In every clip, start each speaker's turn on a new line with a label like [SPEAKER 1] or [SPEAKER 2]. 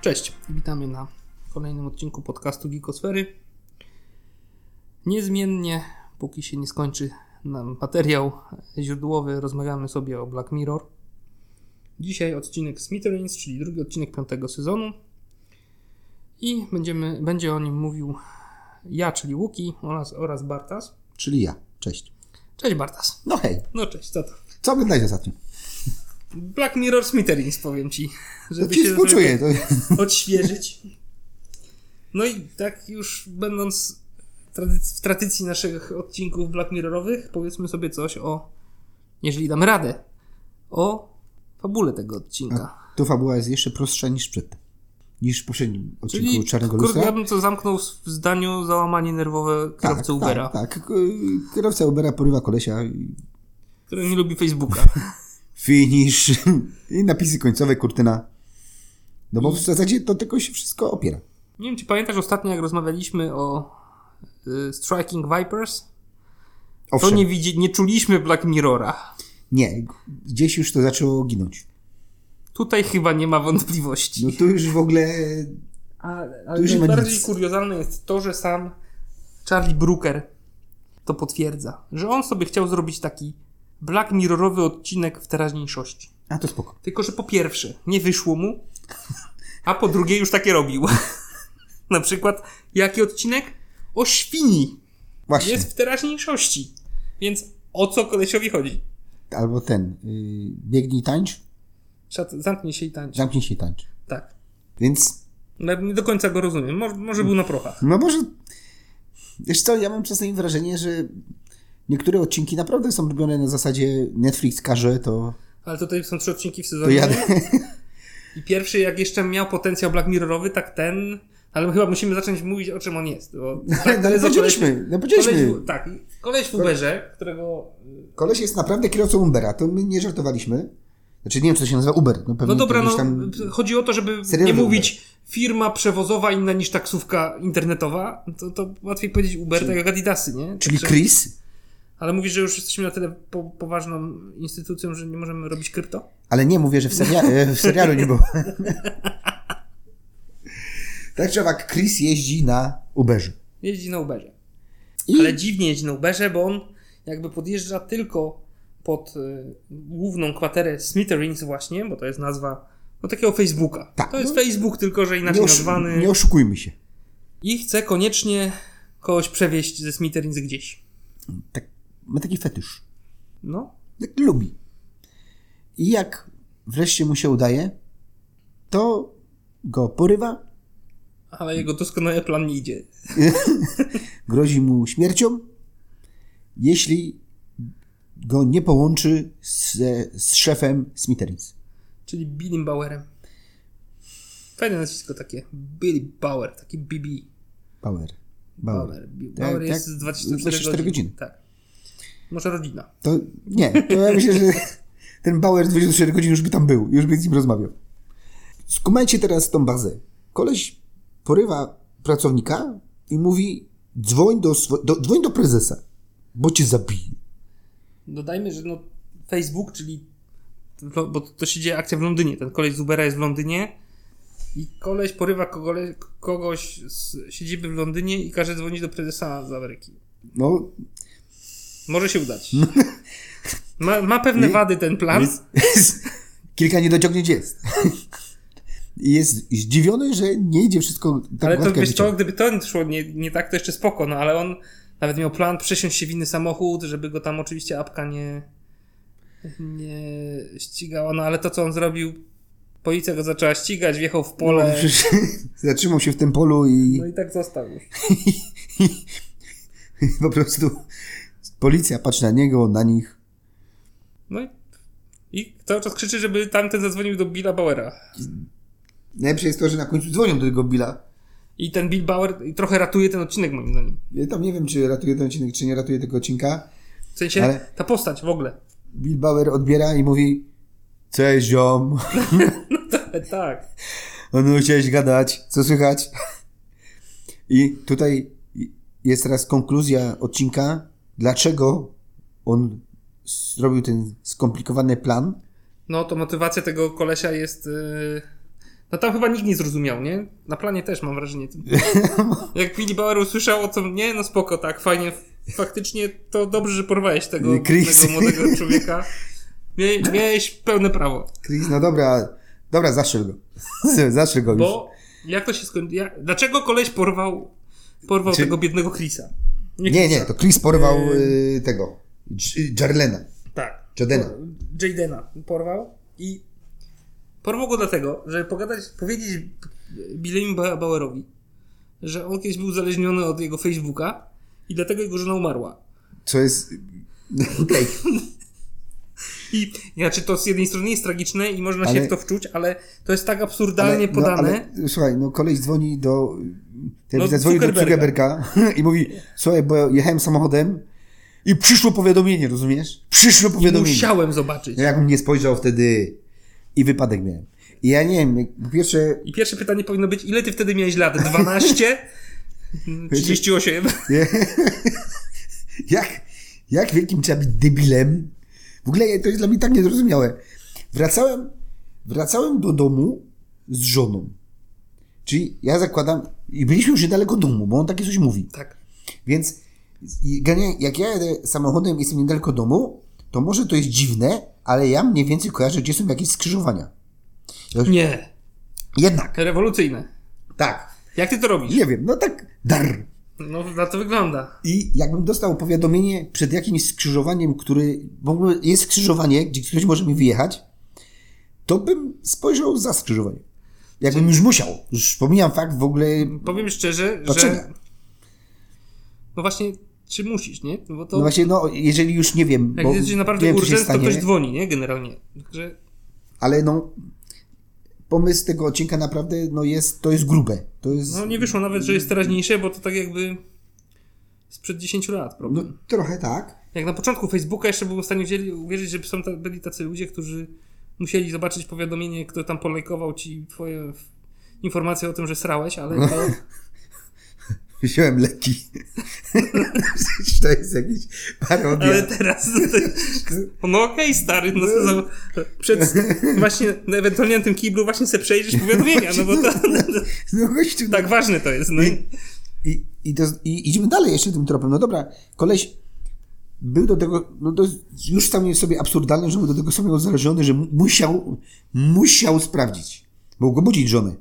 [SPEAKER 1] Cześć, witamy na kolejnym odcinku podcastu Geekosfery. Niezmiennie, póki się nie skończy nam materiał źródłowy, rozmawiamy sobie o Black Mirror. Dzisiaj odcinek Smithereens, czyli drugi odcinek piątego sezonu. I będziemy, będzie o nim mówił ja, czyli Łuki oraz, oraz Bartas.
[SPEAKER 2] Czyli ja. Cześć.
[SPEAKER 1] Cześć Bartas.
[SPEAKER 2] No hej,
[SPEAKER 1] No cześć, co to?
[SPEAKER 2] co wydajesz ostatnio?
[SPEAKER 1] Black Mirror Smithereens, powiem ci.
[SPEAKER 2] To
[SPEAKER 1] Żeby
[SPEAKER 2] ci
[SPEAKER 1] żeby-
[SPEAKER 2] współczuję. To...
[SPEAKER 1] odświeżyć. No i tak już będąc tradyc- w tradycji naszych odcinków Black Mirrorowych, powiedzmy sobie coś o, jeżeli damy radę, o fabule tego odcinka.
[SPEAKER 2] Tu fabuła jest jeszcze prostsza niż przed. Niż w poprzednim odcinku
[SPEAKER 1] Czyli,
[SPEAKER 2] Czarnego
[SPEAKER 1] kurde, ja
[SPEAKER 2] Lustra.
[SPEAKER 1] bym to zamknął w zdaniu załamanie nerwowe kierowcy Ubera,
[SPEAKER 2] Tak, tak. K- Kierowca Ubera porywa kolesia. i
[SPEAKER 1] który nie lubi Facebooka.
[SPEAKER 2] Finish. I napisy końcowe, kurtyna. No bo w zasadzie to tylko się wszystko opiera.
[SPEAKER 1] nie wiem, czy pamiętasz ostatnio, jak rozmawialiśmy o y, Striking Vipers? To
[SPEAKER 2] Owszem,
[SPEAKER 1] nie,
[SPEAKER 2] nie...
[SPEAKER 1] widzi- nie czuliśmy Black Mirrora.
[SPEAKER 2] Gdzieś już to zaczęło ginąć.
[SPEAKER 1] Tutaj chyba nie ma wątpliwości.
[SPEAKER 2] No tu już w ogóle...
[SPEAKER 1] A,
[SPEAKER 2] Tu
[SPEAKER 1] ale
[SPEAKER 2] już nie ma
[SPEAKER 1] najbardziej
[SPEAKER 2] nic.
[SPEAKER 1] kuriozalne jest to, że sam Charlie Brooker to potwierdza, że on sobie chciał zrobić taki Black Mirrorowy odcinek w teraźniejszości.
[SPEAKER 2] A to spoko.
[SPEAKER 1] Tylko, że po pierwsze, nie wyszło mu, a po drugie już takie robił. Na przykład, jaki odcinek? O świni.
[SPEAKER 2] Właśnie.
[SPEAKER 1] Jest w teraźniejszości. Więc o co kolesiowi chodzi?
[SPEAKER 2] Albo ten. Yy, biegnij, tańcz.
[SPEAKER 1] Szat, zamknij się i tańcz.
[SPEAKER 2] Zamknij się i tańcz.
[SPEAKER 1] Tak.
[SPEAKER 2] Więc
[SPEAKER 1] No, Nie do końca go rozumiem. Może, może był na prochach.
[SPEAKER 2] No może. Wiesz co, ja mam czasem wrażenie, że niektóre odcinki naprawdę są robione na zasadzie Netflix każe, to,
[SPEAKER 1] Ale tutaj są trzy odcinki w
[SPEAKER 2] to
[SPEAKER 1] sezonie. No,
[SPEAKER 2] jadę.
[SPEAKER 1] I pierwszy, jak jeszcze miał potencjał Black Mirrorowy, tak ten. Ale my chyba musimy zacząć mówić, o czym on jest. Bo tak,
[SPEAKER 2] Ale
[SPEAKER 1] to jest o
[SPEAKER 2] powiedzieliśmy, no
[SPEAKER 1] Koleś,
[SPEAKER 2] powiedzieliśmy.
[SPEAKER 1] koleś- tak, koleś w Uberze, którego. no
[SPEAKER 2] Koleś jest naprawdę kierowcą Ubera, to my nie żartowaliśmy. Znaczy nie wiem, czy to się nazywa Uber. No, pewnie
[SPEAKER 1] No dobra,
[SPEAKER 2] to
[SPEAKER 1] no,
[SPEAKER 2] gdzieś tam... tak.
[SPEAKER 1] chodzi o to, żeby nie
[SPEAKER 2] Serialowy
[SPEAKER 1] mówić firma przewozowa inna niż taksówka internetowa. To, to łatwiej powiedzieć Uber, tak jak Adidasy, nie?
[SPEAKER 2] Czyli
[SPEAKER 1] Także-
[SPEAKER 2] Chris,
[SPEAKER 1] Ale mówisz, że już jesteśmy na tyle po, poważną instytucją, że nie możemy robić krypto?
[SPEAKER 2] ale nie mówię, że w, seria... e, w serialu nie było. tak czy owak, Chris jeździ na Uberze.
[SPEAKER 1] Jeździ na Uberze.
[SPEAKER 2] I
[SPEAKER 1] Ale dziwnie jeździ na Uberze, bo on jakby podjeżdża tylko pod y, główną kwaterę Smithereens właśnie, bo to jest nazwa no, takiego Facebooka.
[SPEAKER 2] Tak,
[SPEAKER 1] to jest
[SPEAKER 2] no.
[SPEAKER 1] Facebook, tylko że
[SPEAKER 2] nie,
[SPEAKER 1] inaczej
[SPEAKER 2] oszu-
[SPEAKER 1] nazwany.
[SPEAKER 2] nie oszukujmy się.
[SPEAKER 1] I chce koniecznie kogoś przewieźć ze Smithereens gdzieś.
[SPEAKER 2] Tak, ma taki fetysz.
[SPEAKER 1] No,
[SPEAKER 2] tak lubi. I jak wreszcie mu się udaje, to go porywa,
[SPEAKER 1] ale jego doskonały plan nie idzie.
[SPEAKER 2] grozi mu śmiercią, jeśli go nie połączy z, z szefem Smithereens.
[SPEAKER 1] Czyli Billim Bauerem. Fajne nazwisko takie. Billy Bauer, taki BB.
[SPEAKER 2] Bauer. Bauer.
[SPEAKER 1] Bauer.
[SPEAKER 2] Tak,
[SPEAKER 1] Bauer jest
[SPEAKER 2] tak,
[SPEAKER 1] z 24,
[SPEAKER 2] 24
[SPEAKER 1] godzin.
[SPEAKER 2] godzin.
[SPEAKER 1] Tak. Może rodzina.
[SPEAKER 2] To nie, to ja myślę, że ten Bauer 24 godzin już by tam był, już by z nim rozmawiał. Skumajcie teraz tą bazę. Koleś porywa pracownika i mówi dzwoń do, swo- do, dzwoń do prezesa, bo cię zabije.
[SPEAKER 1] Dodajmy, że no Facebook, czyli lo- bo to się dzieje akcja w Londynie. Ten koleś z Ubera jest w Londynie i koleś porywa kogole, kogoś z siedziby w Londynie i każe dzwonić do prezesa z Ameryki.
[SPEAKER 2] No,
[SPEAKER 1] Może się udać. Ma, ma pewne
[SPEAKER 2] Nie?
[SPEAKER 1] wady ten plan.
[SPEAKER 2] kilka niedociągnięć jest. I jest zdziwiony, że nie idzie wszystko tak
[SPEAKER 1] Ale to
[SPEAKER 2] gładko jak
[SPEAKER 1] wiesz co,
[SPEAKER 2] chciał.
[SPEAKER 1] gdyby to szło nie, nie tak, to jeszcze spoko, no ale on nawet miał plan przesiąść się w inny samochód, żeby go tam oczywiście apka nie, nie ścigała, no ale to co on zrobił, policja go zaczęła ścigać, wjechał w pole.
[SPEAKER 2] No, przecież Zatrzymał się w tym polu i
[SPEAKER 1] No i tak został już. No
[SPEAKER 2] po prostu policja patrzy na niego, na nich.
[SPEAKER 1] No i, i cały czas krzyczy, żeby tamten zadzwonił do Billa Bauera.
[SPEAKER 2] Najlepsze jest to, że na końcu dzwonią do tego Billa.
[SPEAKER 1] I ten Bill Bauer i trochę ratuje ten odcinek moim zdaniem.
[SPEAKER 2] Ja tam nie wiem, czy ratuje ten odcinek, czy nie ratuje tego odcinka.
[SPEAKER 1] W sensie
[SPEAKER 2] Ale-
[SPEAKER 1] ta postać w ogóle.
[SPEAKER 2] Bill Bauer odbiera i mówi Cześć ziom,
[SPEAKER 1] tak.
[SPEAKER 2] no chciałeś gadać, co słychać? I tutaj jest teraz konkluzja odcinka, dlaczego on zrobił ten skomplikowany plan.
[SPEAKER 1] No to motywacja tego kolesia jest. y, No tam chyba nikt nie zrozumiał, nie? Na planie też mam wrażenie. Jak Billy Bauer usłyszał o tym, nie, no spoko, tak, fajnie. Faktycznie to dobrze, że porwałeś tego,
[SPEAKER 2] Chris.
[SPEAKER 1] tego młodego człowieka. Mie, miałeś pełne prawo.
[SPEAKER 2] Chris, no dobra, dobra, zaszyl go. zaszyl go już.
[SPEAKER 1] Bo jak to się skończyło? Dlaczego koleś porwał, porwał
[SPEAKER 2] Czy-
[SPEAKER 1] tego biednego Chrisa?
[SPEAKER 2] Nie, nie,
[SPEAKER 1] Chrisa.
[SPEAKER 2] to Chris porwał
[SPEAKER 1] Yy.
[SPEAKER 2] y, tego, J- Jarlena.
[SPEAKER 1] Tak.
[SPEAKER 2] Jadena.
[SPEAKER 1] Po- Jadena porwał i porwał go dlatego, żeby pogadać, powiedzieć Billemu Ba- Bauerowi, że on kiedyś był uzależniony od jego Facebooka i dlatego jego żona umarła.
[SPEAKER 2] Co jest... Okej.
[SPEAKER 1] I znaczy to z jednej strony jest tragiczne i można się
[SPEAKER 2] Ale-
[SPEAKER 1] w to wczuć, ale to jest tak
[SPEAKER 2] Ale-
[SPEAKER 1] absurdalnie podane.
[SPEAKER 2] No, ale, słuchaj, no koleś dzwoni do.
[SPEAKER 1] No,
[SPEAKER 2] Ja widzę, dzwoni do
[SPEAKER 1] Zuckerberga.
[SPEAKER 2] Zuckerberga i mówi: Słuchaj, bo jechałem samochodem i przyszło powiadomienie, rozumiesz? Przyszło powiadomienie.
[SPEAKER 1] Musiałem zobaczyć.
[SPEAKER 2] Ja jakbym nie spojrzał wtedy i wypadek miałem. I ja nie wiem, jak- po pierwsze,
[SPEAKER 1] I pierwsze pytanie powinno być, ile ty wtedy miałeś lat? 12? 38?
[SPEAKER 2] jak, jak wielkim trzeba być debilem? W ogóle ja- to jest dla mnie tak niezrozumiałe. Wracałem, wracałem do domu z żoną. Czyli ja zakładam, i byliśmy już niedaleko domu, bo on takie coś mówi.
[SPEAKER 1] Tak.
[SPEAKER 2] Więc i- generalnie, jak ja jadę samochodem i jestem niedaleko domu, to może to jest dziwne, ale ja mniej więcej kojarzę, gdzie są jakieś skrzyżowania.
[SPEAKER 1] Nie.
[SPEAKER 2] Jednak,
[SPEAKER 1] Rewolucyjne.
[SPEAKER 2] tak,
[SPEAKER 1] Jak ty to robisz?
[SPEAKER 2] nie wiem, no tak, dar.
[SPEAKER 1] No, na to wygląda.
[SPEAKER 2] I jakbym dostał powiadomienie przed jakimś skrzyżowaniem, który w ogóle jest skrzyżowanie, gdzie ktoś może mi wyjechać, to bym spojrzał za skrzyżowanie. Jakbym już musiał. Już pomijam fakt w ogóle.
[SPEAKER 1] Powiem szczerze, że.
[SPEAKER 2] Patrzenia.
[SPEAKER 1] No właśnie, czy musisz, nie? Bo to.
[SPEAKER 2] No właśnie, no, jeżeli już nie wiem.
[SPEAKER 1] jak
[SPEAKER 2] bo
[SPEAKER 1] jest naprawdę
[SPEAKER 2] nie wiem, co się
[SPEAKER 1] urgent, to ktoś
[SPEAKER 2] stanie.
[SPEAKER 1] dzwoni, nie? Generalnie. Także.
[SPEAKER 2] Ale no, pomysł tego odcinka naprawdę no jest, to jest grube. To jest
[SPEAKER 1] No nie wyszło nawet, że jest teraźniejsze, bo to tak jakby. Sprzed 10 lat,
[SPEAKER 2] no,
[SPEAKER 1] problem.
[SPEAKER 2] trochę tak.
[SPEAKER 1] Jak na początku Facebooka jeszcze byłem w stanie wzięli, uwierzyć, że są ta, byli tacy ludzie, którzy musieli zobaczyć powiadomienie, kto tam polajkował ci twoje f- informacje o tym, że srałeś, ale to,
[SPEAKER 2] Wziąłem leki. to jest jakiś parodia.
[SPEAKER 1] ale teraz No okej, stary, no co za, przed właśnie, no, ewentualnie na tym kiblu właśnie se przejrzysz powiadomienia, no bo to,
[SPEAKER 2] No gościu,
[SPEAKER 1] tak ważne to jest, no i
[SPEAKER 2] I, i, to, I idźmy dalej jeszcze tym tropem. No dobra, koleś był do tego, no to już sam jest sobie absurdalne, że był do tego samego uzależniony, że mu- musiał, musiał sprawdzić. Mógł go budzić żony.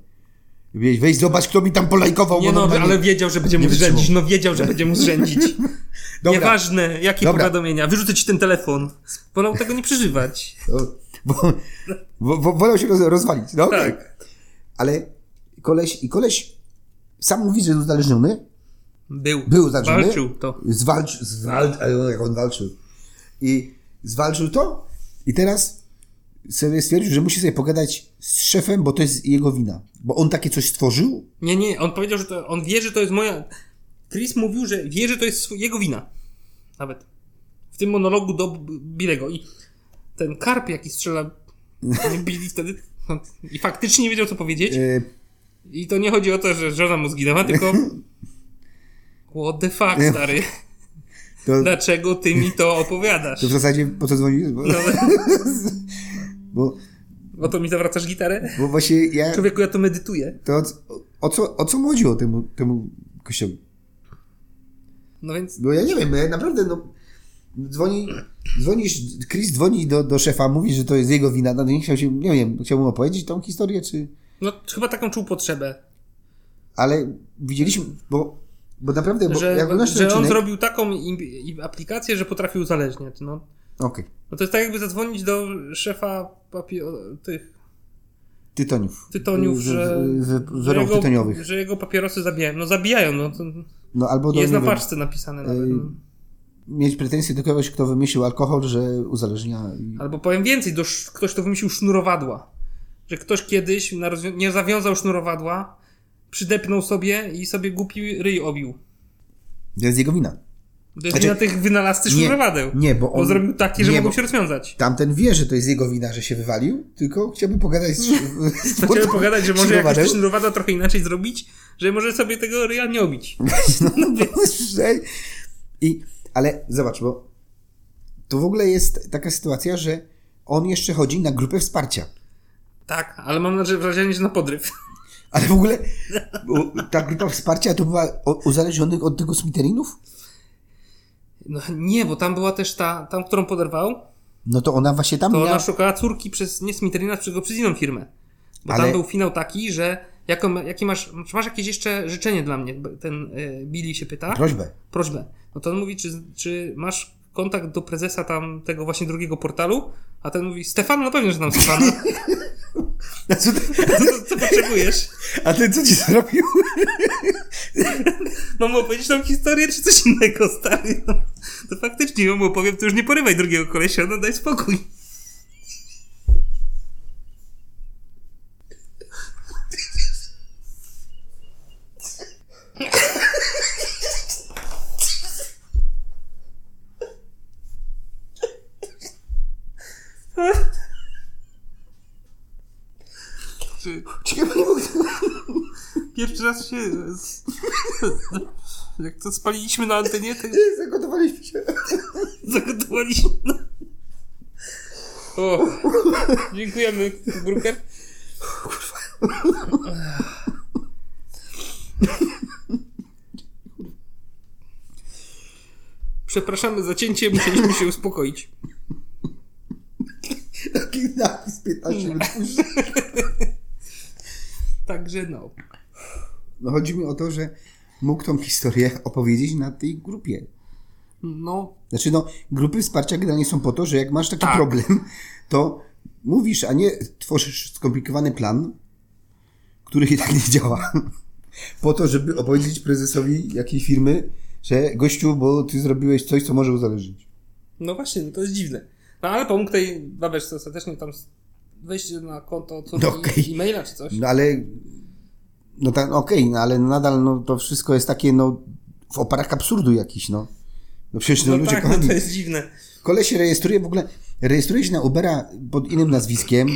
[SPEAKER 2] Weź, weź zobacz, kto mi tam polajkował.
[SPEAKER 1] nie
[SPEAKER 2] bo
[SPEAKER 1] no,
[SPEAKER 2] normalnie-
[SPEAKER 1] ale wiedział, że będzie
[SPEAKER 2] nie
[SPEAKER 1] mu zrzędzić,
[SPEAKER 2] wytrzymał.
[SPEAKER 1] no wiedział, że będzie mu zrzędzić.
[SPEAKER 2] Dobra.
[SPEAKER 1] Nieważne, jakie
[SPEAKER 2] Dobra.
[SPEAKER 1] powiadomienia, wyrzucę ci ten telefon, wolał tego nie przeżywać.
[SPEAKER 2] O, Bo, bo, bo wolał się roz, rozwalić, no okej.
[SPEAKER 1] Tak.
[SPEAKER 2] Ale koleś, i koleś sam mówi, że jest uzależniony,
[SPEAKER 1] Był.
[SPEAKER 2] Był uzależniony.
[SPEAKER 1] Walczył to.
[SPEAKER 2] Zwalcz, zwalcz, ale jak on walczył. I zwalczył to i teraz sobie stwierdził, że musi sobie pogadać z szefem, bo to jest jego wina. Bo on takie coś stworzył.
[SPEAKER 1] Nie, nie, on powiedział, że to, on wie, że to jest moja... Chris mówił, że wie, że to jest swój- jego wina. Nawet. W tym monologu do B- Bilego. I ten karp, jaki strzela Billy wtedy... no, I faktycznie nie wiedział, co powiedzieć.
[SPEAKER 2] E,
[SPEAKER 1] I to nie chodzi o to, że żona mu zginęła, tylko... What the fuck, stary?
[SPEAKER 2] to,
[SPEAKER 1] Dlaczego ty mi to opowiadasz?
[SPEAKER 2] to w zasadzie po co dzwonił? Bo, bo,
[SPEAKER 1] O to mi zawracasz gitarę?
[SPEAKER 2] bo właśnie ja...
[SPEAKER 1] Człowieku, ja to medytuję.
[SPEAKER 2] To o, o, co, o co mu chodziło temu, temu kościołowi?
[SPEAKER 1] No więc...
[SPEAKER 2] Bo ja nie wiem, bo ja naprawdę, no, dzwoni, dzwonisz, Chris dzwoni do, do szefa, mówi, że to jest jego wina, no nie chciał się, nie wiem, chciał mu opowiedzieć tą historię, czy...
[SPEAKER 1] No, chyba taką czuł potrzebę.
[SPEAKER 2] Ale widzieliśmy, bo, bo naprawdę, bo
[SPEAKER 1] że,
[SPEAKER 2] jak oglądasz ten
[SPEAKER 1] że on
[SPEAKER 2] odcinek...
[SPEAKER 1] zrobił taką im, im aplikację, że potrafi uzależniać. No.
[SPEAKER 2] Okej,
[SPEAKER 1] no to jest tak, jakby zadzwonić do szefa papi- o, tych
[SPEAKER 2] tytoniów.
[SPEAKER 1] tytoniów,
[SPEAKER 2] Z-
[SPEAKER 1] że.
[SPEAKER 2] z- z-
[SPEAKER 1] że
[SPEAKER 2] Wyrobów
[SPEAKER 1] jego,
[SPEAKER 2] tytoniowych.
[SPEAKER 1] że jego papierosy zabijają. No zabijają, no to
[SPEAKER 2] No albo do,
[SPEAKER 1] jest
[SPEAKER 2] nie
[SPEAKER 1] na
[SPEAKER 2] wiem,
[SPEAKER 1] paczce napisane nawet.
[SPEAKER 2] Ej.
[SPEAKER 1] no.
[SPEAKER 2] mieć pretensje do kogoś, kto wymyślił alkohol, że uzależnia... i-
[SPEAKER 1] Albo powiem więcej, do, sz- ktoś to wymyślił sznurowadła. Że ktoś kiedyś na rozwią- nie zawiązał sznurowadła, przydepnął sobie i sobie głupi ryj obił.
[SPEAKER 2] To jest jego wina.
[SPEAKER 1] To jest
[SPEAKER 2] Znaczy-
[SPEAKER 1] na tych wynalazcy sznurowadeł.
[SPEAKER 2] nie, bo on-
[SPEAKER 1] zrobił taki, że
[SPEAKER 2] nie,
[SPEAKER 1] mogą
[SPEAKER 2] bo-
[SPEAKER 1] się rozwiązać.
[SPEAKER 2] Tamten wie, że to jest jego wina, że się wywalił, tylko chciałby pogadać z... z-
[SPEAKER 1] Chciałem pogadać, że może jakoś
[SPEAKER 2] Sznurowadem.
[SPEAKER 1] też Nurwada trochę inaczej zrobić, że może sobie tego ryja nie obić.
[SPEAKER 2] No, no, no, I, Ale zobacz, bo to w ogóle jest taka sytuacja, że on jeszcze chodzi na grupę wsparcia.
[SPEAKER 1] Tak, ale mam nadzieję, że wrażenie, że na podryw.
[SPEAKER 2] Ale w ogóle bo ta grupa wsparcia to była o- uzależnionych od tego Smitherinów?
[SPEAKER 1] No, nie, bo tam była też ta, tam, którą poderwał,
[SPEAKER 2] No to ona właśnie tam
[SPEAKER 1] to
[SPEAKER 2] miała...
[SPEAKER 1] ona szukała córki przez, nie Smitherina, tylko przez inną firmę. Bo
[SPEAKER 2] Ale-
[SPEAKER 1] tam był finał taki, że jaką, jakie masz, czy masz jakieś jeszcze życzenie dla mnie? Ten y, Billy się pyta.
[SPEAKER 2] Prośbę.
[SPEAKER 1] prośbę. No to on mówi, czy, czy masz kontakt do prezesa tam tego właśnie drugiego portalu? A ten mówi, Stefan, no pewnie, że tam Stefana.
[SPEAKER 2] A, co ty,
[SPEAKER 1] Co, co, co potrzebujesz?
[SPEAKER 2] a ty co ci zrobił?
[SPEAKER 1] Mam No mu opowiedzieć tam historię, czy coś innego, stary? No, to faktycznie ja mu opowiem, to już nie porywaj drugiego kolesia, no daj spokój.
[SPEAKER 2] Czekaj, bo nie mogę...
[SPEAKER 1] Pierwszy raz się... Jak to spaliliśmy na antenie, to
[SPEAKER 2] Zagotowaliśmy się.
[SPEAKER 1] zagotowaliśmy. O, dziękujemy, Bruker. Przepraszamy za cięcie, musieliśmy się uspokoić.
[SPEAKER 2] Taki napis 15 minut później.
[SPEAKER 1] Także no.
[SPEAKER 2] No chodzi mi o to, że mógł tą historię opowiedzieć na tej grupie.
[SPEAKER 1] No,
[SPEAKER 2] Znaczy no, grupy wsparcia generalnie są po to, że jak masz taki
[SPEAKER 1] Tak.
[SPEAKER 2] problem, to mówisz, a nie tworzysz skomplikowany plan, który i tak nie działa. Po to, żeby opowiedzieć prezesowi jakiej firmy, że gościu, bo ty zrobiłeś coś, co może uzależnić.
[SPEAKER 1] no właśnie, no to jest dziwne. No ale pomógł tej babeczce ostatecznie tam s- wejść na konto córki
[SPEAKER 2] No, okej.
[SPEAKER 1] e-maila czy coś.
[SPEAKER 2] No ale, no tak, okej, no ale nadal no, to wszystko jest takie, no, w oparach absurdu jakiś, no. No przecież no,
[SPEAKER 1] No
[SPEAKER 2] ludzie
[SPEAKER 1] tak, no
[SPEAKER 2] kochani,
[SPEAKER 1] to jest dziwne.
[SPEAKER 2] Koleś się rejestruje w ogóle, rejestruje się na Ubera pod innym nazwiskiem.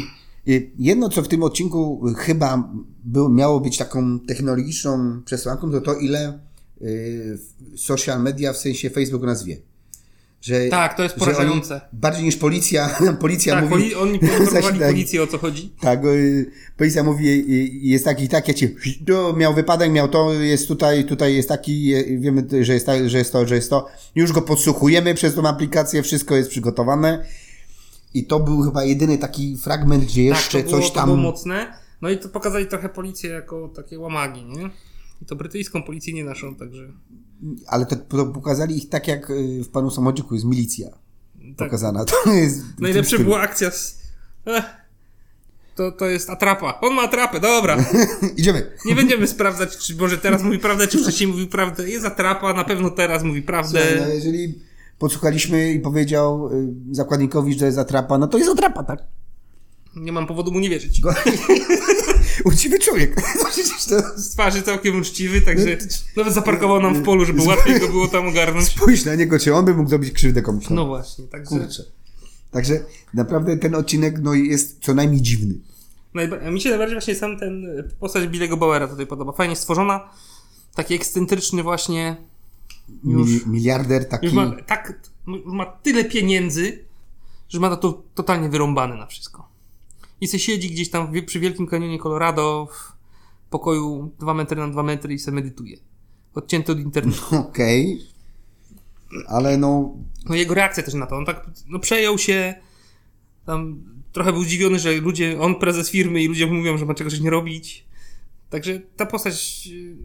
[SPEAKER 2] Y, Jedno, co w tym odcinku chyba był, miało być taką technologiczną przesłanką, to to, ile y, social media, w sensie Facebook nas wie. Że,
[SPEAKER 1] Tak, to jest
[SPEAKER 2] że oni-
[SPEAKER 1] porażające.
[SPEAKER 2] Bardziej niż policja, policja
[SPEAKER 1] Tak,
[SPEAKER 2] mówi...
[SPEAKER 1] poli- oni poinformowali
[SPEAKER 2] Zasilaj.
[SPEAKER 1] policję o co chodzi.
[SPEAKER 2] Tak, y, policja mówi, y, jest taki i tak, ja cię, to miał wypadek, miał to, jest tutaj, tutaj jest taki, y, wiemy, y, że jest, ta- że jest to, że jest to. Już go podsłuchujemy przez tą aplikację, wszystko jest przygotowane. I to był chyba jedyny taki fragment, gdzie jeszcze
[SPEAKER 1] tak, to było,
[SPEAKER 2] coś
[SPEAKER 1] To
[SPEAKER 2] tam...
[SPEAKER 1] było mocne. No i to pokazali trochę policję jako takie łamagi, nie? I to brytyjską policję, nie naszą, także...
[SPEAKER 2] Ale to, to pokazali ich tak, jak y, w Panu Samodziku jest milicja
[SPEAKER 1] Tak.
[SPEAKER 2] pokazana. To jest w tym
[SPEAKER 1] Najlepsza
[SPEAKER 2] stylu.
[SPEAKER 1] była akcja z... Ech, to, to jest atrapa. On ma atrapę, dobra.
[SPEAKER 2] Idziemy.
[SPEAKER 1] Nie będziemy sprawdzać, czy może teraz mówi prawdę, czy wcześniej mówił prawdę. Jest atrapa, na pewno teraz mówi
[SPEAKER 2] Słuchaj, no,
[SPEAKER 1] prawdę.
[SPEAKER 2] jeżeli podsłuchaliśmy i powiedział y, zakładnikowi, że jest atrapa, no to jest atrapa, tak?
[SPEAKER 1] Nie mam powodu mu nie wierzyć.
[SPEAKER 2] Uczciwy człowiek. Przecież to...
[SPEAKER 1] Z twarzy całkiem uczciwy, także nawet zaparkował nam w polu, żeby łatwiej go było tam ogarnąć.
[SPEAKER 2] Spójrz na niego, czy on by mógł zrobić krzywdę komuś.
[SPEAKER 1] No właśnie, także...
[SPEAKER 2] kurczę. Także naprawdę ten odcinek no, jest co najmniej dziwny.
[SPEAKER 1] Najba- a mi się najbardziej właśnie sam ten y, postać Billego Bauera tutaj podoba. Fajnie stworzona, taki ekscentryczny właśnie, Już.
[SPEAKER 2] Mil, miliarder taki.
[SPEAKER 1] już ma, tak, m- ma tyle pieniędzy, że ma to totalnie wyrąbane na wszystko. I se siedzi gdzieś tam w, przy Wielkim Kanionie Colorado w pokoju 2 metry na 2 metry i se medytuje. Odcięty od internetu.
[SPEAKER 2] Okej. Ale no.
[SPEAKER 1] No jego reakcja też na to, on tak no, przejął się, tam trochę był zdziwiony, że ludzie, on prezes firmy i ludzie mówią, że ma czegoś nie robić. Także ta postać y,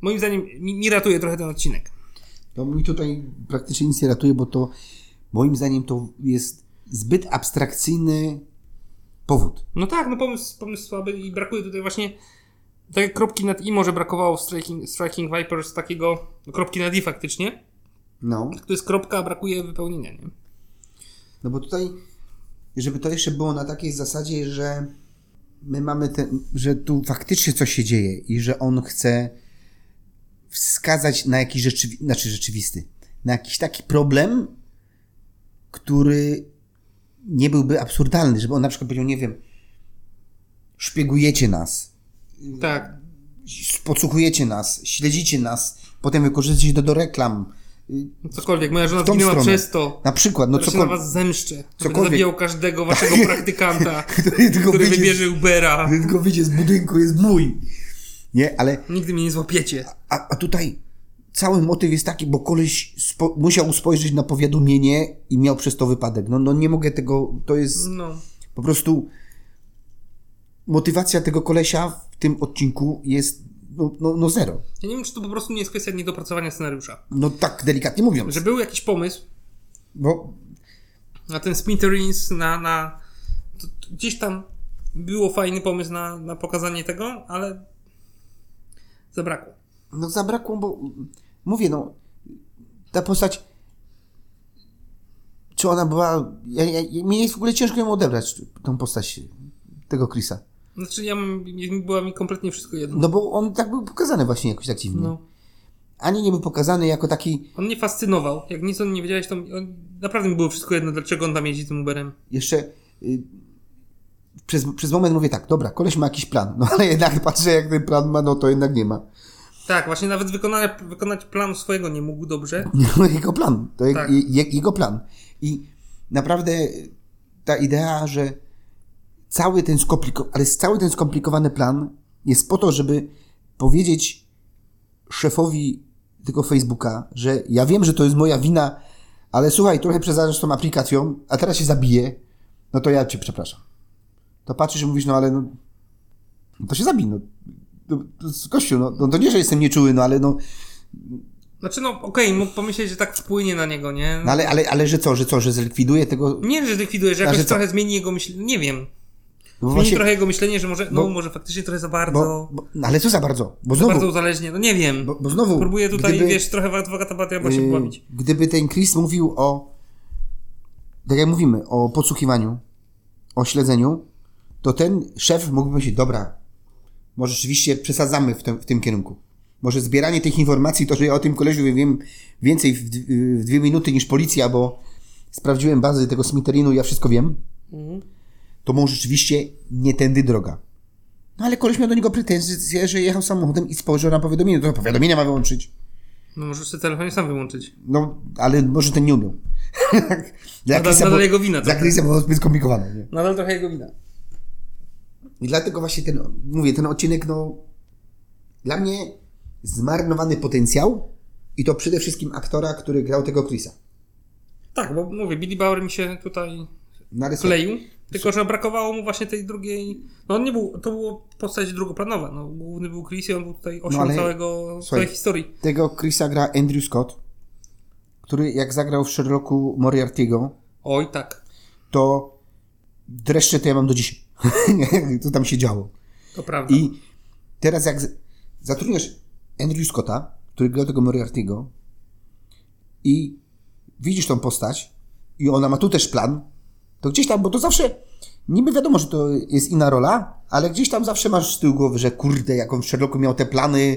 [SPEAKER 1] moim zdaniem mi, mi ratuje trochę ten odcinek.
[SPEAKER 2] To mi tutaj praktycznie nic nie ratuje, bo to moim zdaniem to jest zbyt abstrakcyjny powód.
[SPEAKER 1] No tak, no pomysł, pomysł słaby i brakuje tutaj właśnie tak jak kropki nad i może brakowało w Striking, Striking Vipers takiego no, kropki nad i faktycznie.
[SPEAKER 2] No.
[SPEAKER 1] Tu jest kropka, a brakuje wypełnienia, nie?
[SPEAKER 2] No bo tutaj, żeby to jeszcze było na takiej zasadzie, że my mamy ten, że tu faktycznie coś się dzieje i że on chce wskazać na jakiś rzeczywi- znaczy rzeczywisty, na jakiś taki problem, który nie byłby absurdalny, żeby on na przykład powiedział, nie wiem, szpiegujecie nas,
[SPEAKER 1] Tak.
[SPEAKER 2] podsłuchujecie nas, śledzicie nas, potem wykorzystujecie to do reklam,
[SPEAKER 1] Cokolwiek, moja żona
[SPEAKER 2] w tą
[SPEAKER 1] zginęła
[SPEAKER 2] stronę.
[SPEAKER 1] przez to.
[SPEAKER 2] Na przykład, no
[SPEAKER 1] No, się na
[SPEAKER 2] cokolwiek.
[SPEAKER 1] was zemszczę. Będę
[SPEAKER 2] cokolwiek.
[SPEAKER 1] zabijał każdego waszego praktykanta,
[SPEAKER 2] Który tylko
[SPEAKER 1] który
[SPEAKER 2] wyjdzie z-
[SPEAKER 1] wybierze Ubera.
[SPEAKER 2] Gdy tylko wyjdzie z budynku, jest mój. Nie, ale
[SPEAKER 1] Nigdy mnie nie złapiecie.
[SPEAKER 2] a, a tutaj cały motyw jest taki, bo koleś spo, musiał spojrzeć na powiadomienie i miał przez to wypadek. No, no nie mogę tego, to jest
[SPEAKER 1] No.
[SPEAKER 2] po prostu motywacja tego kolesia w tym odcinku jest no, no, no zero.
[SPEAKER 1] Ja nie wiem, czy to po prostu nie jest kwestia niedopracowania scenariusza.
[SPEAKER 2] No tak delikatnie mówiąc,
[SPEAKER 1] Że był jakiś pomysł
[SPEAKER 2] bo
[SPEAKER 1] na ten Splinterins, na... na... to- to Gdzieś tam było fajny pomysł na, na pokazanie tego, ale zabrakło.
[SPEAKER 2] no zabrakło, bo mówię, no ta postać czy ona była, ja, ja, ja- mi jest w ogóle ciężko ją odebrać, tą postać tego Chrisa.
[SPEAKER 1] Znaczy ja mam, była mi kompletnie wszystko jedno.
[SPEAKER 2] No bo on tak był pokazany właśnie jakoś tak dziwnie.
[SPEAKER 1] No.
[SPEAKER 2] ani nie był pokazany jako taki.
[SPEAKER 1] On mnie fascynował. Jak nic o nim nie wiedziałeś, to mi- on, naprawdę mi było wszystko jedno, dlaczego on tam jeździ tym Uberem.
[SPEAKER 2] Jeszcze y, przez, przez moment mówię tak, dobra, koleś ma jakiś plan, no ale jednak patrzę, jak ten plan ma, no to jednak nie ma.
[SPEAKER 1] Tak, właśnie nawet wykonania, wykonać planu swojego nie mógł dobrze.
[SPEAKER 2] No, jego plan, to je,
[SPEAKER 1] Tak.
[SPEAKER 2] je, jego plan. I naprawdę y, ta idea, że cały ten skomplikowany, ale cały ten skomplikowany plan jest po to, żeby powiedzieć szefowi tego Facebooka, że ja wiem, że to jest moja wina, ale słuchaj, trochę przesadzasz tą aplikacją, a teraz się zabiję, no to ja cię przepraszam. To patrzysz i mówisz, no ale no, no to się zabij, no. No, to- Kościół, no, no to nie, że jestem nieczuły, no ale no,
[SPEAKER 1] Znaczy no okej, mógł pomyśleć, że tak wpłynie na niego, nie?
[SPEAKER 2] no ale, ale, ale że co, że co, że zlikwiduje tego
[SPEAKER 1] Nie, że zlikwiduje, że
[SPEAKER 2] Znaczy
[SPEAKER 1] jakoś
[SPEAKER 2] co?
[SPEAKER 1] trochę zmieni jego myślenie. Nie wiem.
[SPEAKER 2] Bo
[SPEAKER 1] Zmieni
[SPEAKER 2] No właśnie,
[SPEAKER 1] trochę jego myślenie, że może, no
[SPEAKER 2] bo-
[SPEAKER 1] może faktycznie trochę za bardzo,
[SPEAKER 2] bo, bo, no ale co za bardzo? Bo znowu,
[SPEAKER 1] bardzo uzależnie, no nie wiem.
[SPEAKER 2] bo, bo znowu
[SPEAKER 1] Próbuję tutaj,
[SPEAKER 2] gdyby,
[SPEAKER 1] wiesz, trochę w adwokata Batiaba się
[SPEAKER 2] yy,
[SPEAKER 1] pławić.
[SPEAKER 2] gdyby ten Chris mówił o, tak jak mówimy, o podsłuchiwaniu, o śledzeniu, to ten szef mógłby powiedzieć, dobra, może rzeczywiście przesadzamy w tym, w tym kierunku. Może zbieranie tych informacji, to że ja o tym koleżu wiem więcej w, d- w dwie minuty niż policja, bo sprawdziłem bazy tego Smitherinu, ja wszystko wiem,
[SPEAKER 1] Mhm.
[SPEAKER 2] to mu rzeczywiście nie tędy droga. No ale koleś miał do niego pretensje, że jechał samochodem i spojrzał na powiadomienie. To powiadomienia ma wyłączyć.
[SPEAKER 1] No możesz sobie telefonie sam wyłączyć.
[SPEAKER 2] No, ale może ten nie umiał. dla
[SPEAKER 1] Nadal-
[SPEAKER 2] Chrisa
[SPEAKER 1] nadal
[SPEAKER 2] było-
[SPEAKER 1] No jego wina
[SPEAKER 2] Dla
[SPEAKER 1] trochę.
[SPEAKER 2] Chrisa było zbyt skomplikowane. Nie?
[SPEAKER 1] Nadal trochę jego wina.
[SPEAKER 2] I dlatego właśnie ten, mówię, ten odcinek, no, dla mnie zmarnowany potencjał i to przede wszystkim aktora, który grał tego Chrisa.
[SPEAKER 1] Tak, bo mówię, Billy Bauer mi się tutaj
[SPEAKER 2] Narysował.
[SPEAKER 1] kleił, tylko że brakowało mu właśnie tej drugiej. No on nie był, to było postać drugoplanowa. No, główny był Chris i on był tutaj osią
[SPEAKER 2] No, ale-
[SPEAKER 1] całego,
[SPEAKER 2] słuchaj.
[SPEAKER 1] całej historii.
[SPEAKER 2] Tego Chrisa gra Andrew Scott, który jak zagrał w Sherlocku Moriarty'ego,
[SPEAKER 1] Oj, tak,
[SPEAKER 2] to dreszcze to ja mam do dzisiaj. Co tam się działo.
[SPEAKER 1] to prawda.
[SPEAKER 2] I teraz jak z- zatrudniasz Andrew Scotta, który grał tego Moriarty'ego i widzisz tą postać i ona ma tu też plan, to gdzieś tam, bo to zawsze niby wiadomo, że to jest inna rola, ale gdzieś tam zawsze masz z tyłu głowy, że kurde, jak on w Sherlocku miał te plany,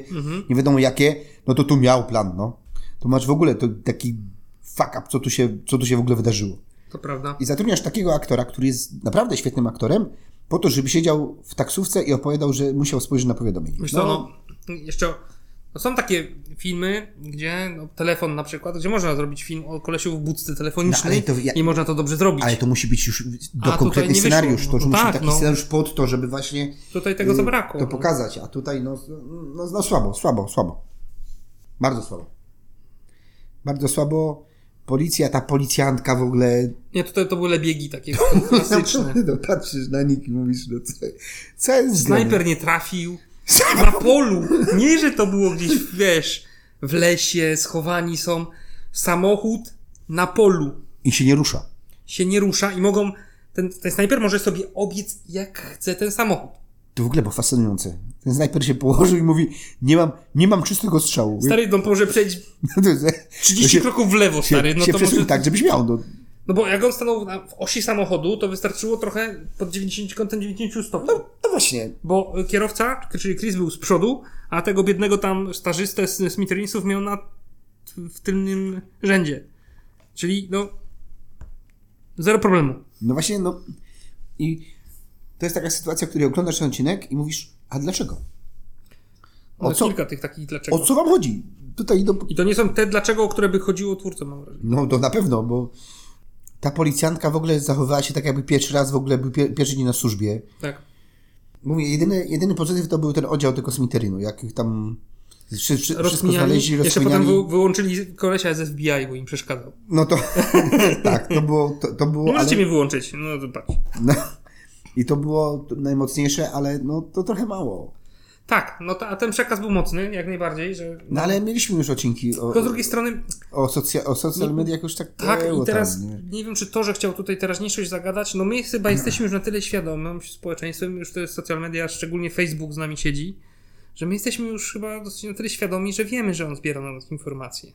[SPEAKER 2] nie wiadomo jakie, no to tu miał plan, no. To masz w ogóle to, taki fuck up, co tu, się, co tu się w ogóle wydarzyło.
[SPEAKER 1] To prawda.
[SPEAKER 2] I zatrudniasz takiego aktora, który jest naprawdę świetnym aktorem, po to, żeby siedział w taksówce i opowiadał, że musiał spojrzeć na powiadomienie.
[SPEAKER 1] Wiesz
[SPEAKER 2] No,
[SPEAKER 1] co, no, jeszcze. No są takie filmy, gdzie no, telefon na przykład, gdzie można zrobić film o kolesiu w budce telefonicznej
[SPEAKER 2] No, ale to ja-
[SPEAKER 1] i można to dobrze zrobić.
[SPEAKER 2] ale to musi być już
[SPEAKER 1] A,
[SPEAKER 2] do
[SPEAKER 1] tutaj
[SPEAKER 2] konkretny
[SPEAKER 1] nie
[SPEAKER 2] scenariusz.
[SPEAKER 1] wyszło.
[SPEAKER 2] To,
[SPEAKER 1] No
[SPEAKER 2] że
[SPEAKER 1] to
[SPEAKER 2] musi
[SPEAKER 1] tak,
[SPEAKER 2] taki
[SPEAKER 1] no.
[SPEAKER 2] scenariusz pod to, żeby właśnie
[SPEAKER 1] Tutaj tego
[SPEAKER 2] y,
[SPEAKER 1] zabrakło.
[SPEAKER 2] to
[SPEAKER 1] no.
[SPEAKER 2] pokazać. A tutaj no, no, no słabo, słabo, słabo. Bardzo słabo. Bardzo słabo. Policja, ta policjantka w ogóle...
[SPEAKER 1] Nie, tutaj to były biegi takie klasyczne.
[SPEAKER 2] Naprawdę, no, patrzysz na nich i mówisz, no co, co jest grane?
[SPEAKER 1] Snajper nie trafił. Na polu. Nie, że to było gdzieś, wiesz, w lesie, schowani są. Samochód na polu
[SPEAKER 2] I się nie rusza.
[SPEAKER 1] się nie rusza i mogą. Ten, ten snajper może sobie obiec jak chce ten samochód.
[SPEAKER 2] To w ogóle było fascynujące. Ten snajper się położył i mówi, nie mam, nie mam czystego strzału.
[SPEAKER 1] Stary, no może przejść
[SPEAKER 2] To jest-
[SPEAKER 1] 30
[SPEAKER 2] się-
[SPEAKER 1] kroków w lewo,
[SPEAKER 2] się,
[SPEAKER 1] stary. No
[SPEAKER 2] się
[SPEAKER 1] to
[SPEAKER 2] przesuń
[SPEAKER 1] może,
[SPEAKER 2] tak, żebyś miał. No.
[SPEAKER 1] No bo jak on stanął na, w osi samochodu, to wystarczyło trochę pod 90 kątem 90 stopni.
[SPEAKER 2] no właśnie.
[SPEAKER 1] Bo y, kierowca, czyli Chris był z przodu, a tego biednego tam stażystę z Smithereensów miał na, w tylnym rzędzie. Czyli no zero problemu.
[SPEAKER 2] No właśnie, no. I to jest taka sytuacja, w której oglądasz ten odcinek i mówisz, a dlaczego? O
[SPEAKER 1] No,
[SPEAKER 2] co,
[SPEAKER 1] Kilka tych takich dlaczego.
[SPEAKER 2] o co wam chodzi? tutaj do...
[SPEAKER 1] I to nie są te dlaczego, o które by chodziło twórcom, mam wrażenie.
[SPEAKER 2] No to na pewno, bo ta policjantka w ogóle zachowywała się tak, jakby pierwszy raz w ogóle był pie- pierwszy dzień na służbie.
[SPEAKER 1] Tak.
[SPEAKER 2] Mówię, jedyny, jedyny pozytyw to był ten oddział tego cemiterynu, jak ich tam wszy, wszy, wszystko
[SPEAKER 1] Rozkminiali,
[SPEAKER 2] znaleźli,
[SPEAKER 1] jeszcze potem
[SPEAKER 2] rozkminiali.
[SPEAKER 1] wy, wyłączyli kolesia z FBI, bo im przeszkadzał.
[SPEAKER 2] No to tak, to było, to, to
[SPEAKER 1] Nie
[SPEAKER 2] było, ale,
[SPEAKER 1] możecie mnie wyłączyć, no to patrz.
[SPEAKER 2] no, i to było najmocniejsze, ale no to trochę mało.
[SPEAKER 1] Tak, no to, a ten przekaz był mocny, jak najbardziej, że...
[SPEAKER 2] No ale mieliśmy już odcinki o,
[SPEAKER 1] Tylko z drugiej strony,
[SPEAKER 2] o, socja, o social mediach już tak
[SPEAKER 1] tak,
[SPEAKER 2] było
[SPEAKER 1] i teraz
[SPEAKER 2] tam,
[SPEAKER 1] nie.
[SPEAKER 2] nie? Hmm.
[SPEAKER 1] wiem, czy to, że chciał tutaj teraźniejszość zagadać, no my chyba jesteśmy już na tyle świadomym społeczeństwem, już to jest social media, szczególnie Facebook z nami siedzi, że my jesteśmy już chyba dosyć na tyle świadomi, że wiemy, że on zbiera na nas informacje.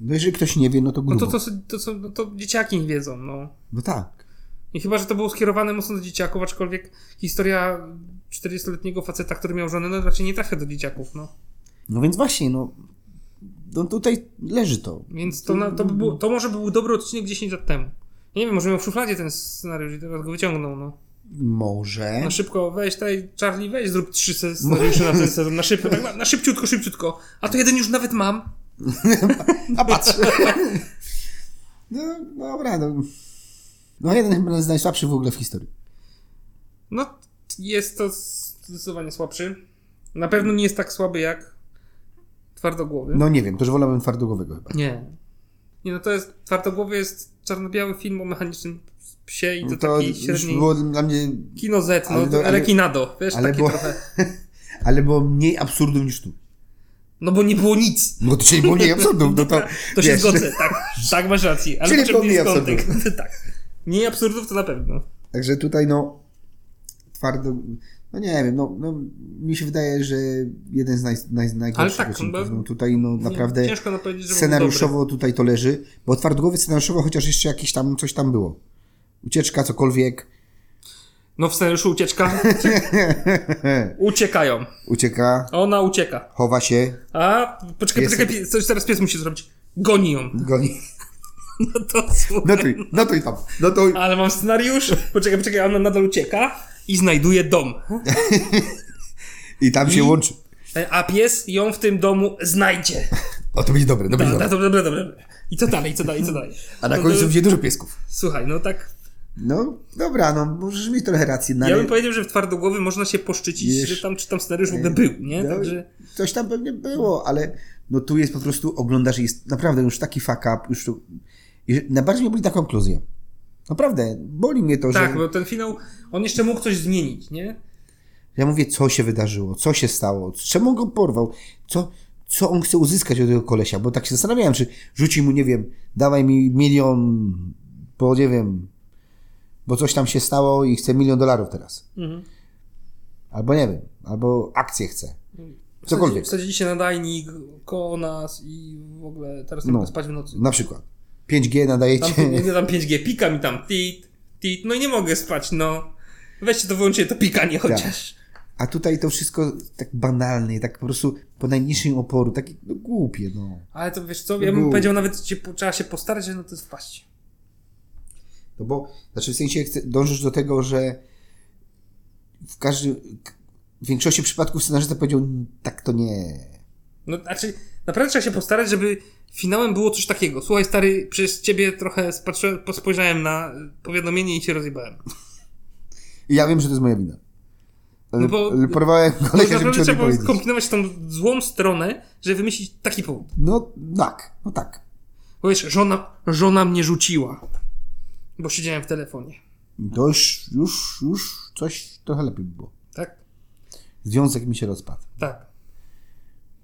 [SPEAKER 2] No jeżeli ktoś nie wie, no to
[SPEAKER 1] No
[SPEAKER 2] grubo.
[SPEAKER 1] to, to, to, to, są- no to dzieciaki nie wiedzą, no.
[SPEAKER 2] No tak.
[SPEAKER 1] I chyba, że to było skierowane mocno do dzieciaków, aczkolwiek historia 40-letniego faceta, który miał żonę, no raczej nie trafia do dzieciaków, no.
[SPEAKER 2] No więc właśnie, no, no tutaj leży to.
[SPEAKER 1] Więc to, na, to, by było, to może był dobry odcinek 10 lat temu. Ja nie wiem, może miał w szufladzie ten scenariusz i teraz go wyciągnął, no.
[SPEAKER 2] Może.
[SPEAKER 1] Na szybko, weź tutaj, Charlie, weź zrób trzy se-
[SPEAKER 2] No.
[SPEAKER 1] scenariusze na ten sezon, na szybko, tak, na, na szybciutko, szybciutko. A to jeden już nawet mam.
[SPEAKER 2] A patrz. no dobra, no. No jeden chyba z najsłabszych w ogóle w historii.
[SPEAKER 1] No, t- jest to zdecydowanie słabszy. Na pewno nie jest tak słaby jak Twardogłowy.
[SPEAKER 2] No nie wiem, też wolałbym twardogłowego chyba.
[SPEAKER 1] Nie. Nie, no to jest, Twardogłowy jest czarno-biały film o mechanicznym psie i to,
[SPEAKER 2] No to
[SPEAKER 1] taki
[SPEAKER 2] już
[SPEAKER 1] średni
[SPEAKER 2] było dla mnie,
[SPEAKER 1] kino Z, no,
[SPEAKER 2] ale
[SPEAKER 1] ale,
[SPEAKER 2] to- ale-
[SPEAKER 1] kinado, wiesz,
[SPEAKER 2] ale
[SPEAKER 1] takie
[SPEAKER 2] było-
[SPEAKER 1] trochę.
[SPEAKER 2] ale było mniej absurdów niż tu.
[SPEAKER 1] No bo nie było nic.
[SPEAKER 2] No to się było mniej absurdów, no to
[SPEAKER 1] To się
[SPEAKER 2] wiesz.
[SPEAKER 1] zgodzę, tak, tak masz rację. Ale
[SPEAKER 2] Czyli
[SPEAKER 1] potrzebny
[SPEAKER 2] mniej
[SPEAKER 1] jest kontekst. tak. Mniej absurdów to na pewno.
[SPEAKER 2] Także tutaj no twardo, no nie wiem, no, no mi się wydaje, że jeden z naj, naj, najgorszych
[SPEAKER 1] tak,
[SPEAKER 2] odcinków.
[SPEAKER 1] bo-
[SPEAKER 2] No tutaj no naprawdę
[SPEAKER 1] Nie, ciężko nam powiedzieć, że był
[SPEAKER 2] scenariuszowo tutaj to leży, bo twardogłowy scenariuszowo chociaż jeszcze jakieś tam, coś tam było. Ucieczka, cokolwiek.
[SPEAKER 1] dobry. No w scenariuszu ucieczka. Uciekają.
[SPEAKER 2] Ucieka,
[SPEAKER 1] A Ona ucieka.
[SPEAKER 2] chowa się,
[SPEAKER 1] A poczekaj,
[SPEAKER 2] Pies-
[SPEAKER 1] poczekaj, pies- coś teraz pies musi zrobić. Goni ją.
[SPEAKER 2] goni.
[SPEAKER 1] No to słuchaj.
[SPEAKER 2] Notuj, notuj no tam, notuj.
[SPEAKER 1] Ale mam scenariusz. Poczekaj, poczekaj, ona nadal ucieka i znajduje dom.
[SPEAKER 2] I tam się łączy.
[SPEAKER 1] A pies ją w tym domu znajdzie.
[SPEAKER 2] O, to będzie dobre, to będzie
[SPEAKER 1] Dobra,
[SPEAKER 2] dobre.
[SPEAKER 1] dobra, dobra. dobra. I co dalej, co dalej, co dalej?
[SPEAKER 2] A na
[SPEAKER 1] No
[SPEAKER 2] końcu
[SPEAKER 1] to-
[SPEAKER 2] będzie dużo piesków.
[SPEAKER 1] Słuchaj, no tak
[SPEAKER 2] No, dobra, no, możesz mieć trochę racji, no,
[SPEAKER 1] Ja
[SPEAKER 2] ale
[SPEAKER 1] bym powiedział, że w twardogłowy można się poszczycić,
[SPEAKER 2] Wiesz-
[SPEAKER 1] że tam czy tam scenariusz w ogóle był, nie?
[SPEAKER 2] no,
[SPEAKER 1] Także
[SPEAKER 2] coś tam pewnie było, ale no tu jest po prostu, oglądasz i jest naprawdę już taki fuck up, już tu... i Najbardziej mnie boli ta konkluzja. Naprawdę, boli mnie to,
[SPEAKER 1] tak,
[SPEAKER 2] że
[SPEAKER 1] bo ten finał, on jeszcze mógł coś zmienić, nie?
[SPEAKER 2] ja mówię, co się wydarzyło, co się stało, czemu on go porwał, co, co on chce uzyskać od tego kolesia, bo tak się zastanawiałem, czy rzuci mu, nie wiem, dawaj mi milion, bo nie wiem, bo coś tam się stało i chce milion dolarów teraz. Albo nie wiem, albo akcję chce. Cokolwiek.
[SPEAKER 1] Wsadzili się na dajnik koło nas i w ogóle teraz nie
[SPEAKER 2] No.
[SPEAKER 1] mogę spać w nocy.
[SPEAKER 2] Na przykład. 5G
[SPEAKER 1] Tam,
[SPEAKER 2] nadajecie.
[SPEAKER 1] nie, tam 5G pika mi tam tit, tit, no i nie mogę spać, no. Weźcie to wyłączcie to pikanie chociaż.
[SPEAKER 2] A tutaj to wszystko tak banalne, tak po prostu po najniższym oporu, takie no, głupie, no.
[SPEAKER 1] Ale to wiesz co, ja bym
[SPEAKER 2] Był.
[SPEAKER 1] powiedział nawet, że się, po- trzeba się postarać, że no to wpaść.
[SPEAKER 2] No bo, znaczy w sensie chce- dążysz do tego, że w każdym, w większości przypadków scenarzysta powiedział, tak to nie.
[SPEAKER 1] No, znaczy, naprawdę trzeba się postarać, żeby finałem było coś takiego. Słuchaj, stary, przez ciebie trochę spatrzyłem, spojrzałem na y, powiadomienie i się rozjebałem.
[SPEAKER 2] I ja wiem, że to jest moja wina.
[SPEAKER 1] No bo-
[SPEAKER 2] Ale Porwałem
[SPEAKER 1] Może
[SPEAKER 2] kolesia, żeby ci
[SPEAKER 1] naprawdę
[SPEAKER 2] o tym
[SPEAKER 1] trzeba było
[SPEAKER 2] powiedzieć.
[SPEAKER 1] skombinować tą złą stronę, żeby wymyślić taki powód.
[SPEAKER 2] No tak, no tak.
[SPEAKER 1] Bo wiesz, żona, żona mnie rzuciła, bo siedziałem w telefonie,
[SPEAKER 2] To już, już, już coś trochę lepiej by było.
[SPEAKER 1] tak?
[SPEAKER 2] Związek mi się rozpadł.
[SPEAKER 1] Tak.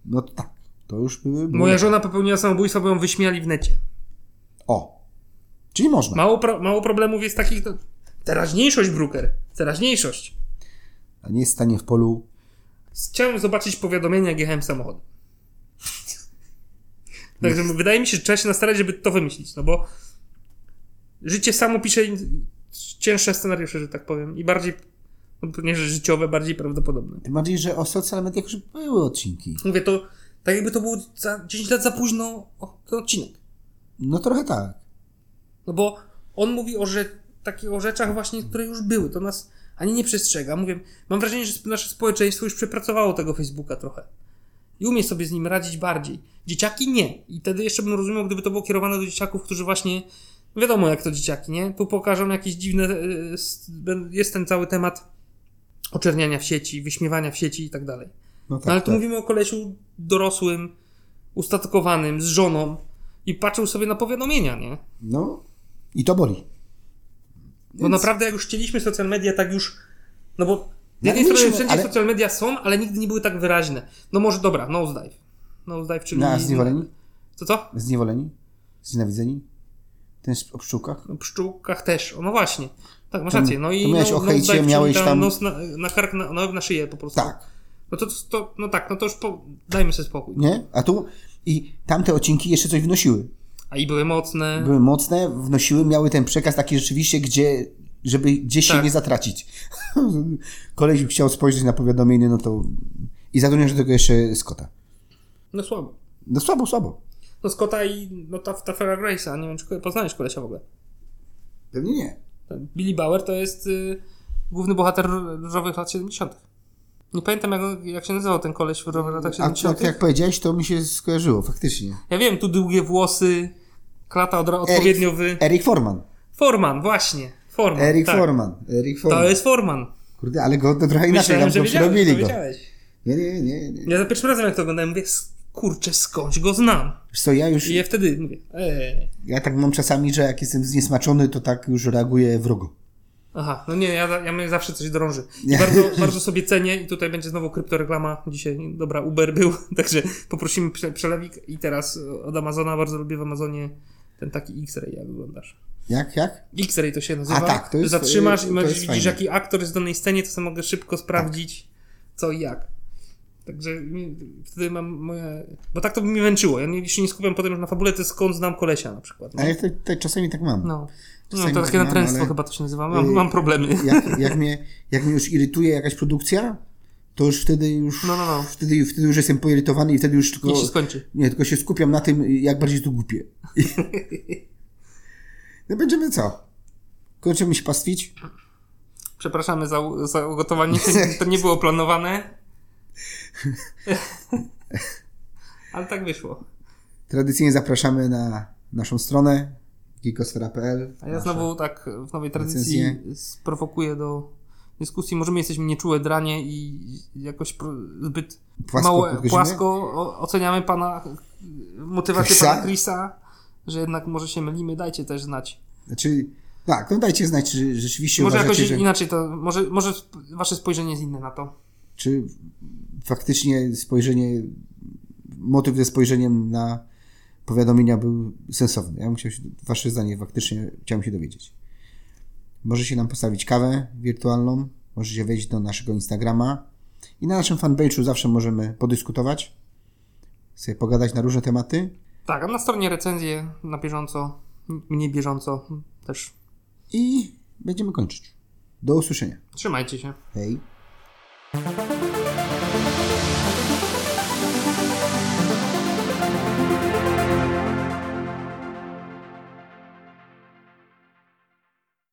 [SPEAKER 2] No to tak, to już by było.
[SPEAKER 1] Moja żona popełniła samobójstwo, bo ją wyśmiali w necie.
[SPEAKER 2] O. Czyli można.
[SPEAKER 1] Mało, pro, mało problemów jest takich, no, teraźniejszość, Brooker, teraźniejszość.
[SPEAKER 2] A nie stanie w polu.
[SPEAKER 1] Chciałem zobaczyć powiadomienia, jak jechałem samochodem. Także wydaje mi się, że trzeba się nastarać, żeby to wymyślić, no bo życie samo pisze in- cięższe scenariusze, że tak powiem, i bardziej, no, nie, że życiowe, bardziej prawdopodobne.
[SPEAKER 2] Tym bardziej, że o social mediach już były odcinki.
[SPEAKER 1] Mówię, to tak jakby to było za 10 lat za późno o, ten odcinek.
[SPEAKER 2] No trochę tak.
[SPEAKER 1] No bo on mówi o że, takich o rzeczach właśnie, które już były, to nas ani nie przestrzega. Mówię, mam wrażenie, że nasze społeczeństwo już przepracowało tego Facebooka trochę. i umie sobie z nim radzić bardziej. Dzieciaki nie. I wtedy jeszcze bym rozumiał, gdyby to było kierowane do dzieciaków, którzy właśnie no wiadomo jak to dzieciaki, nie? Tu pokażą jakieś dziwne y, s- ben- jest ten cały temat oczerniania w sieci, wyśmiewania w sieci i tak dalej.
[SPEAKER 2] No
[SPEAKER 1] No ale
[SPEAKER 2] tak,
[SPEAKER 1] tu
[SPEAKER 2] tak.
[SPEAKER 1] mówimy o kolesiu dorosłym, ustatkowanym, z żoną i patrzył sobie na powiadomienia, nie?
[SPEAKER 2] No i to boli.
[SPEAKER 1] Bo naprawdę jak już chcieliśmy social media, tak już. No bo z
[SPEAKER 2] No,
[SPEAKER 1] jednej
[SPEAKER 2] mieliśmy,
[SPEAKER 1] strony wszędzie
[SPEAKER 2] ale-
[SPEAKER 1] social media są, ale nigdy nie były tak wyraźne. No może dobra, nosedive. Nosedive, czyli.
[SPEAKER 2] No, a zniewoleni?
[SPEAKER 1] Co co?
[SPEAKER 2] Zniewoleni? Znienawidzeni? Ten o pszczółkach?
[SPEAKER 1] No, pszczółkach też. O, no właśnie. Tak, masz
[SPEAKER 2] To-
[SPEAKER 1] rację. No i
[SPEAKER 2] to miałeś
[SPEAKER 1] no,
[SPEAKER 2] o hejcie,
[SPEAKER 1] nosedive, czyli
[SPEAKER 2] miałeś
[SPEAKER 1] ta
[SPEAKER 2] tam-
[SPEAKER 1] Nos na, na kark, na, no, na szyję po prostu.
[SPEAKER 2] Tak.
[SPEAKER 1] No to, to, to, no tak, no to już po, dajmy sobie spokój.
[SPEAKER 2] Nie? A tu i tamte odcinki jeszcze coś wnosiły.
[SPEAKER 1] A i były mocne.
[SPEAKER 2] Były mocne, wnosiły, miały ten przekaz taki rzeczywiście, gdzie, żeby gdzieś się
[SPEAKER 1] Tak.
[SPEAKER 2] nie zatracić. Koleś chciał spojrzeć na powiadomienie, no to i zatrudniał do tego jeszcze Scotta.
[SPEAKER 1] No słabo.
[SPEAKER 2] No słabo, sabo.
[SPEAKER 1] No Scotta i no, ta, ta Farrah Grace'a, nie wiem czy ko- poznałeś kolesia w ogóle.
[SPEAKER 2] Pewnie nie.
[SPEAKER 1] Ten Billy Bauer to jest y, główny bohater różowych lat 70. Nie pamiętam jak, on- jak się nazywał ten koleś w różowych latach
[SPEAKER 2] A tak
[SPEAKER 1] 70.
[SPEAKER 2] jak powiedziałeś, to mi się skojarzyło, faktycznie.
[SPEAKER 1] Ja wiem, tu długie włosy, klata odra- odpowiednio wy...
[SPEAKER 2] Eric Forman.
[SPEAKER 1] Forman, właśnie. Forman.
[SPEAKER 2] Eric
[SPEAKER 1] tak.
[SPEAKER 2] E- Forman. Eric Forman.
[SPEAKER 1] To jest Forman.
[SPEAKER 2] Kurde, ale go to trochę inaczej
[SPEAKER 1] Myślałem,
[SPEAKER 2] tam
[SPEAKER 1] że
[SPEAKER 2] to
[SPEAKER 1] wiedziałeś,
[SPEAKER 2] przerobili
[SPEAKER 1] to
[SPEAKER 2] go.
[SPEAKER 1] wiedziałeś.
[SPEAKER 2] Nie, nie, nie. nie.
[SPEAKER 1] Ja za pierwszym razem jak to oglądałem, mówię, "S- kurczę, skądś go znam.
[SPEAKER 2] Wiesz co, ja już,
[SPEAKER 1] I ja wtedy mówię, eee.
[SPEAKER 2] ja tak mam czasami, że jak jestem zniesmaczony, to tak już reaguję wrogo.
[SPEAKER 1] Aha, no nie, ja, ja mnie zawsze coś drąży. I
[SPEAKER 2] Nie.
[SPEAKER 1] bardzo, bardzo sobie cenię i tutaj będzie znowu kryptoreklama. Dzisiaj, dobra, Uber był, także poprosimy prze, przelewik i teraz e, od Amazona, bardzo lubię w Amazonie ten taki X-ray, jak wyglądasz.
[SPEAKER 2] Jak, jak?
[SPEAKER 1] X-ray to się nazywa.
[SPEAKER 2] A tak, to jest-
[SPEAKER 1] Zatrzymasz i
[SPEAKER 2] to
[SPEAKER 1] możesz
[SPEAKER 2] jest
[SPEAKER 1] widzisz,
[SPEAKER 2] fajne.
[SPEAKER 1] jaki aktor jest w danej scenie, to sobie mogę szybko sprawdzić, co i jak. Także mi- wtedy mam moje... Bo tak to by mnie męczyło. Ja nie- się nie skupiam potem już na fabule, to skąd znam kolesia na przykład.
[SPEAKER 2] A
[SPEAKER 1] nie?
[SPEAKER 2] ja te, te czasami tak mam.
[SPEAKER 1] No. No,
[SPEAKER 2] Czasami
[SPEAKER 1] to
[SPEAKER 2] tak
[SPEAKER 1] takie
[SPEAKER 2] mam,
[SPEAKER 1] natręstwo
[SPEAKER 2] ale-
[SPEAKER 1] chyba to się nazywa. Mam, mam problemy.
[SPEAKER 2] Jak, jak, mnie, jak mnie już irytuje jakaś produkcja, to już wtedy już,
[SPEAKER 1] No, no, no.
[SPEAKER 2] Wtedy, wtedy już jestem poirytowany i wtedy już tylko...
[SPEAKER 1] Niech się skończy.
[SPEAKER 2] Nie, tylko się skupiam na tym, jak bardziej tu głupie. No będziemy co? Kończymy się pastwić?
[SPEAKER 1] Przepraszamy za, u- za ugotowanie. To nie było planowane. Ale tak wyszło.
[SPEAKER 2] Tradycyjnie zapraszamy na naszą stronę geekosfera.pl
[SPEAKER 1] A ja znowu tak w nowej tradycji
[SPEAKER 2] recenzje.
[SPEAKER 1] sprowokuję do dyskusji. Może my jesteśmy nieczułe dranie i jakoś pro- zbyt
[SPEAKER 2] Płasko
[SPEAKER 1] mało,
[SPEAKER 2] podchodzimy?
[SPEAKER 1] płasko o- oceniamy pana y, motywację
[SPEAKER 2] Chrisa?
[SPEAKER 1] pana Chrisa, że jednak może się mylimy. Dajcie też znać.
[SPEAKER 2] Znaczy, tak, no dajcie znać, czy rzeczywiście
[SPEAKER 1] Może
[SPEAKER 2] uważacie,
[SPEAKER 1] jakoś
[SPEAKER 2] że,
[SPEAKER 1] inaczej to, może, może sp- wasze spojrzenie jest inne na to.
[SPEAKER 2] czy faktycznie spojrzenie, motyw ze spojrzeniem na powiadomienia był sensowny. Ja bym chciał, się- wasze zdanie faktycznie chciałem się dowiedzieć. Możecie nam postawić kawę wirtualną, możecie wejść do naszego Instagrama i na naszym fanpage'u zawsze możemy podyskutować, sobie pogadać na różne tematy.
[SPEAKER 1] Tak, a na stronie recenzje na bieżąco, m- mniej bieżąco też.
[SPEAKER 2] i będziemy kończyć. Do usłyszenia.
[SPEAKER 1] Trzymajcie się.
[SPEAKER 2] Hej.